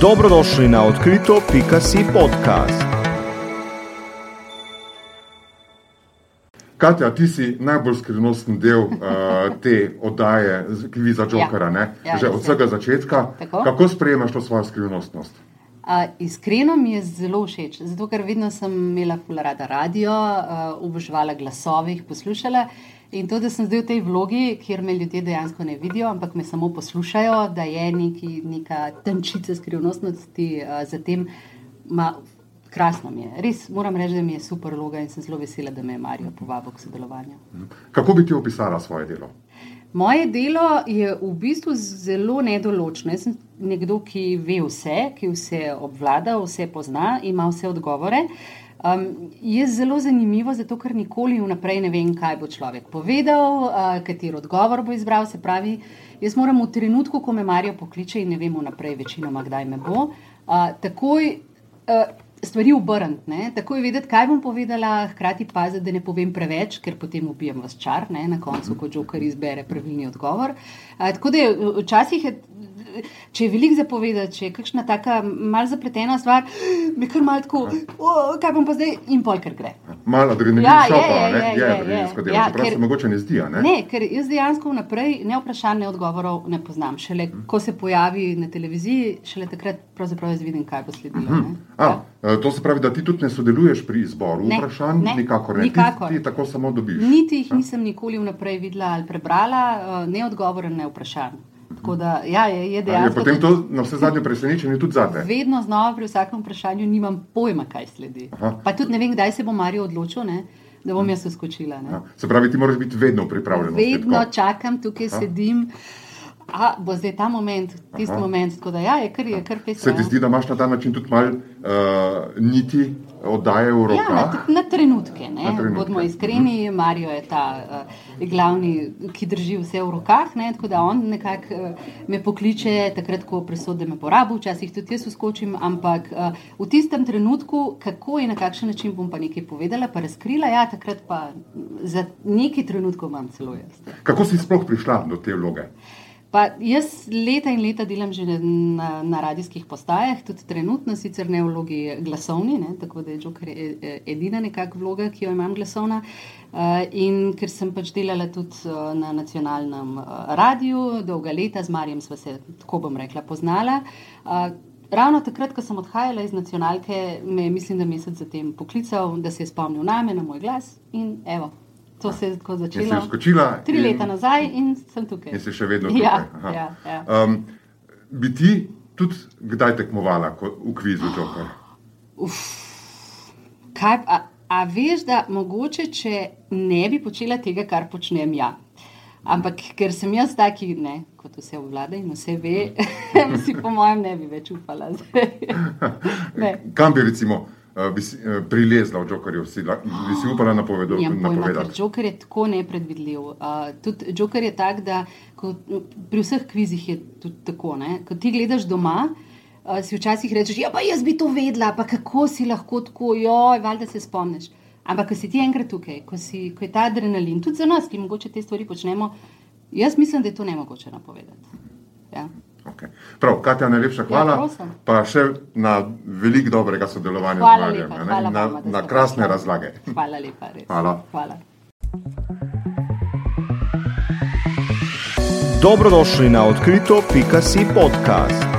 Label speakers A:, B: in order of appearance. A: Dobrodošli na otkrito.si podcast.
B: Katja, ti si najbolj skrivnosten del uh, te oddaje z- Kviza Jokera, ne?
C: Ja,
B: že od
C: res je.
B: vsega začetka.
C: Tako.
B: Kako sprejemaš to svojo skrivnostnost?
C: A, iskreno mi je zelo všeč, zato ker vedno sem imela ful rada radio, a, oboževala glasove, jih poslušala. In to, da sem zdaj v tej vlogi, kjer me ljudje dejansko ne vidijo, ampak me samo poslušajo, da je neki, neka tančica skrivnostnosti a, za tem, ma, krasno mi je. Res moram reči, da mi je super vloga in sem zelo vesela, da me je Marijo povabil k sodelovanju.
B: Kako bi ti opisala svoje delo?
C: Moje delo je v bistvu zelo nedoločno. Jaz sem nekdo, ki ve vse, ki vse obvlada, vse pozna, ima vse odgovore. Um, je zelo zanimivo, zato ker nikoli vnaprej ne vem, kaj bo človek povedal, uh, katero odgovor bo izbral. Se pravi, jaz moram v trenutku, ko me Marijo pokliče in ne vem vnaprej, večinoma kdaj me bo, uh, takoj eh, stvari obrniti, ne? takoj vedeti, kaj bom povedala, hkrati paziti, da ne povem preveč, ker potem ubijem vas čar, ne? na koncu, ko Joker izbere pravilni odgovor. Eh, Tako da je eh, včasih, je, eh, če je veliko zapovedati, če je kakšna taka malce zapletena stvar, me kar malo tako, "O, kaj bom pa zdaj, in pol kar gre.
B: Malo adrenalin
C: Ja, je,
B: šopa,
C: je,
B: ne?
C: je,
B: je
C: je,
B: adrenalinsko
C: je.
B: delo,
C: Ja,
B: čeprav
C: ker-
B: se mogoče ne zdi. a Ne?
C: Ne, ker jaz dejansko vnaprej ne vprašanj, ne odgovorov ne poznam. Šele ko se pojavi na televiziji, šele takrat pravzaprav jaz vidim, kaj bo sledilo. ne.
B: A, eh, to se pravi, da ti tudi ne sodeluješ pri izboru
C: Ne,
B: vprašanj,
C: ne,
B: nikakor ne. Ti-
C: nikakor.
B: Ti, tako samo dobiš.
C: Niti jih nisem nikoli vnaprej videla ali prebrala, eh, ne odgovore, ne vprašanj. Tako da ja, je, je
B: Je
C: dejansko.
B: potem
C: tudi-
B: to na vse zadnje presenečenje tudi zate.
C: Vedno znova pri vsakem vprašanju nimam pojma, kaj sledi.
B: Aha.
C: Pa tudi ne vem, kdaj se bo Marijo odločil, ne, da bom jaz uskočila. Ne.
B: Ja, Se pravi, ti moraš biti vedno pripravljen.
C: Vedno čakam, tukaj sedim. A bo zdaj ta moment, tisti
B: Aha.
C: moment. Tako da ja, je kar, je kar pesem.
B: Se ti zdi, da imaš na ta način tudi malo uh, niti oddaje v
C: Ja, na,
B: rokah?
C: t- na trenutke, ne.
B: Na trenutke. Mhm.
C: Bodimo iskreni, Marijo je ta eh, glavni, ki drži vse v rokah. Ne, tako da on nekako eh, me pokliče, takrat, ko presode me porabo, včasih tudi jaz uskočim, ampak eh, v tistem trenutku, kako in na kakšen način bom pa nekaj povedala, pa razkrila, ja, takrat pa mm, za neki trenutkov imam celo jaz.
B: Kako si sploh prišla do te vloge?
C: Pa jaz leta in leta delam že na, na radijskih postajah, tudi trenutno, sicer ne v vlogi glasovni, ne, tako da je Joker e- e- edina nekakšna vloga, ki jo imam glasovna. Uh, in ker sem pač delala tudi uh, na nacionalnem uh, radiju, dolga leta z Marijem sva se, tako bom rekla, poznala. Uh, Ravno takrat, ko sem odhajala iz nacionalke, me je, mislim, da mesec zatem poklical, da se je spomnil name, na moj glas in evo, to Ja, se je tako
B: In si
C: začelo.
B: skočila?
C: Tri leta nazaj in sem tukaj.
B: In si še vedno tukaj.
C: Ja,
B: Aha.
C: ja, ja.
B: Um, bi ti tudi kdaj tekmovala ko, v kvizu Joker?
C: Kaj, pa- a, a veš, da mogoče, če ne bi počela tega, kar počnem ja. Ampak ker sem jaz taki, ne, kot vse vlada in vse ve,
B: Ja.
C: si po mojem ne bi več upala. ne.
B: Kam bi recimo uh, bi si, uh, prilezla v Jokerju? Si, la- bi si upala napovedo,
C: Nimam Ja, pojma, ker
B: napovedati?
C: Joker je tako nepredvidljiv. Uh, tudi Joker je tak, da ko, pri vseh kvizih je tudi tako. Ne? Ko ti gledaš doma, uh, si včasih rečeš, ja, pa jaz bi to vedela, pa kako si lahko tako, joj, valjda se spomniš. Ampak ko si ti enkrat tukaj, ko, si, ko je ta adrenalin, tudi za nas, ki mogoče te stvari počnemo, jaz mislim, da je to nemogoče napovedati. Ja.
B: Okay. Prav, Katja, najlepša hvala.
C: prosim.
B: pa še na veliko dobrega sodelovanja
C: Hvala
B: z Marijem
C: lepa,
B: a ne?
C: hvala
B: in na,
C: vama, da
B: na
C: ste
B: krasne
C: prišli.
B: razlage.
C: Hvala lepa, res.
B: Hvala.
C: Hvala.
A: Dobrodošli na otkrito.si podcast.